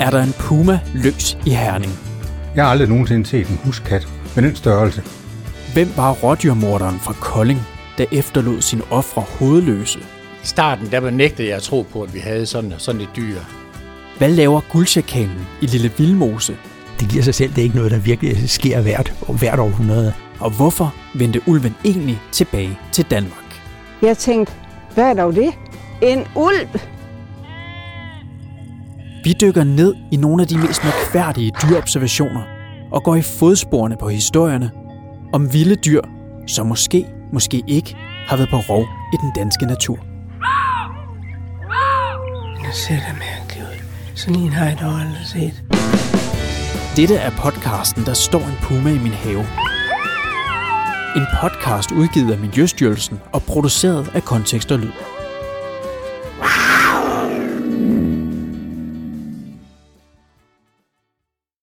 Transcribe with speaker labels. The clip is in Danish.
Speaker 1: er der en puma løs i Herning.
Speaker 2: Jeg har aldrig nogensinde set en huskat med den størrelse.
Speaker 1: Hvem var rådyrmorderen fra Kolding, der efterlod sine ofre hovedløse?
Speaker 3: I starten, der benægtede jeg at tro på, at vi havde sådan, sådan et dyr.
Speaker 1: Hvad laver guldsjakanen i Lille Vildmose?
Speaker 4: Det giver sig selv, det er ikke noget, der virkelig sker hvert, hvert århundrede.
Speaker 1: Og hvorfor vendte ulven egentlig tilbage til Danmark?
Speaker 5: Jeg tænkte, hvad er dog det? En ulv?
Speaker 1: Vi dykker ned i nogle af de mest mærkværdige dyreobservationer og går i fodsporene på historierne om vilde dyr, som måske, måske ikke har været på rov i den danske natur.
Speaker 6: Det ser da mærkeligt ud. Sådan en har jeg dog aldrig set.
Speaker 1: Dette er podcasten, der står en puma i min have. En podcast udgivet af Miljøstyrelsen og produceret af Kontekst og Lyd.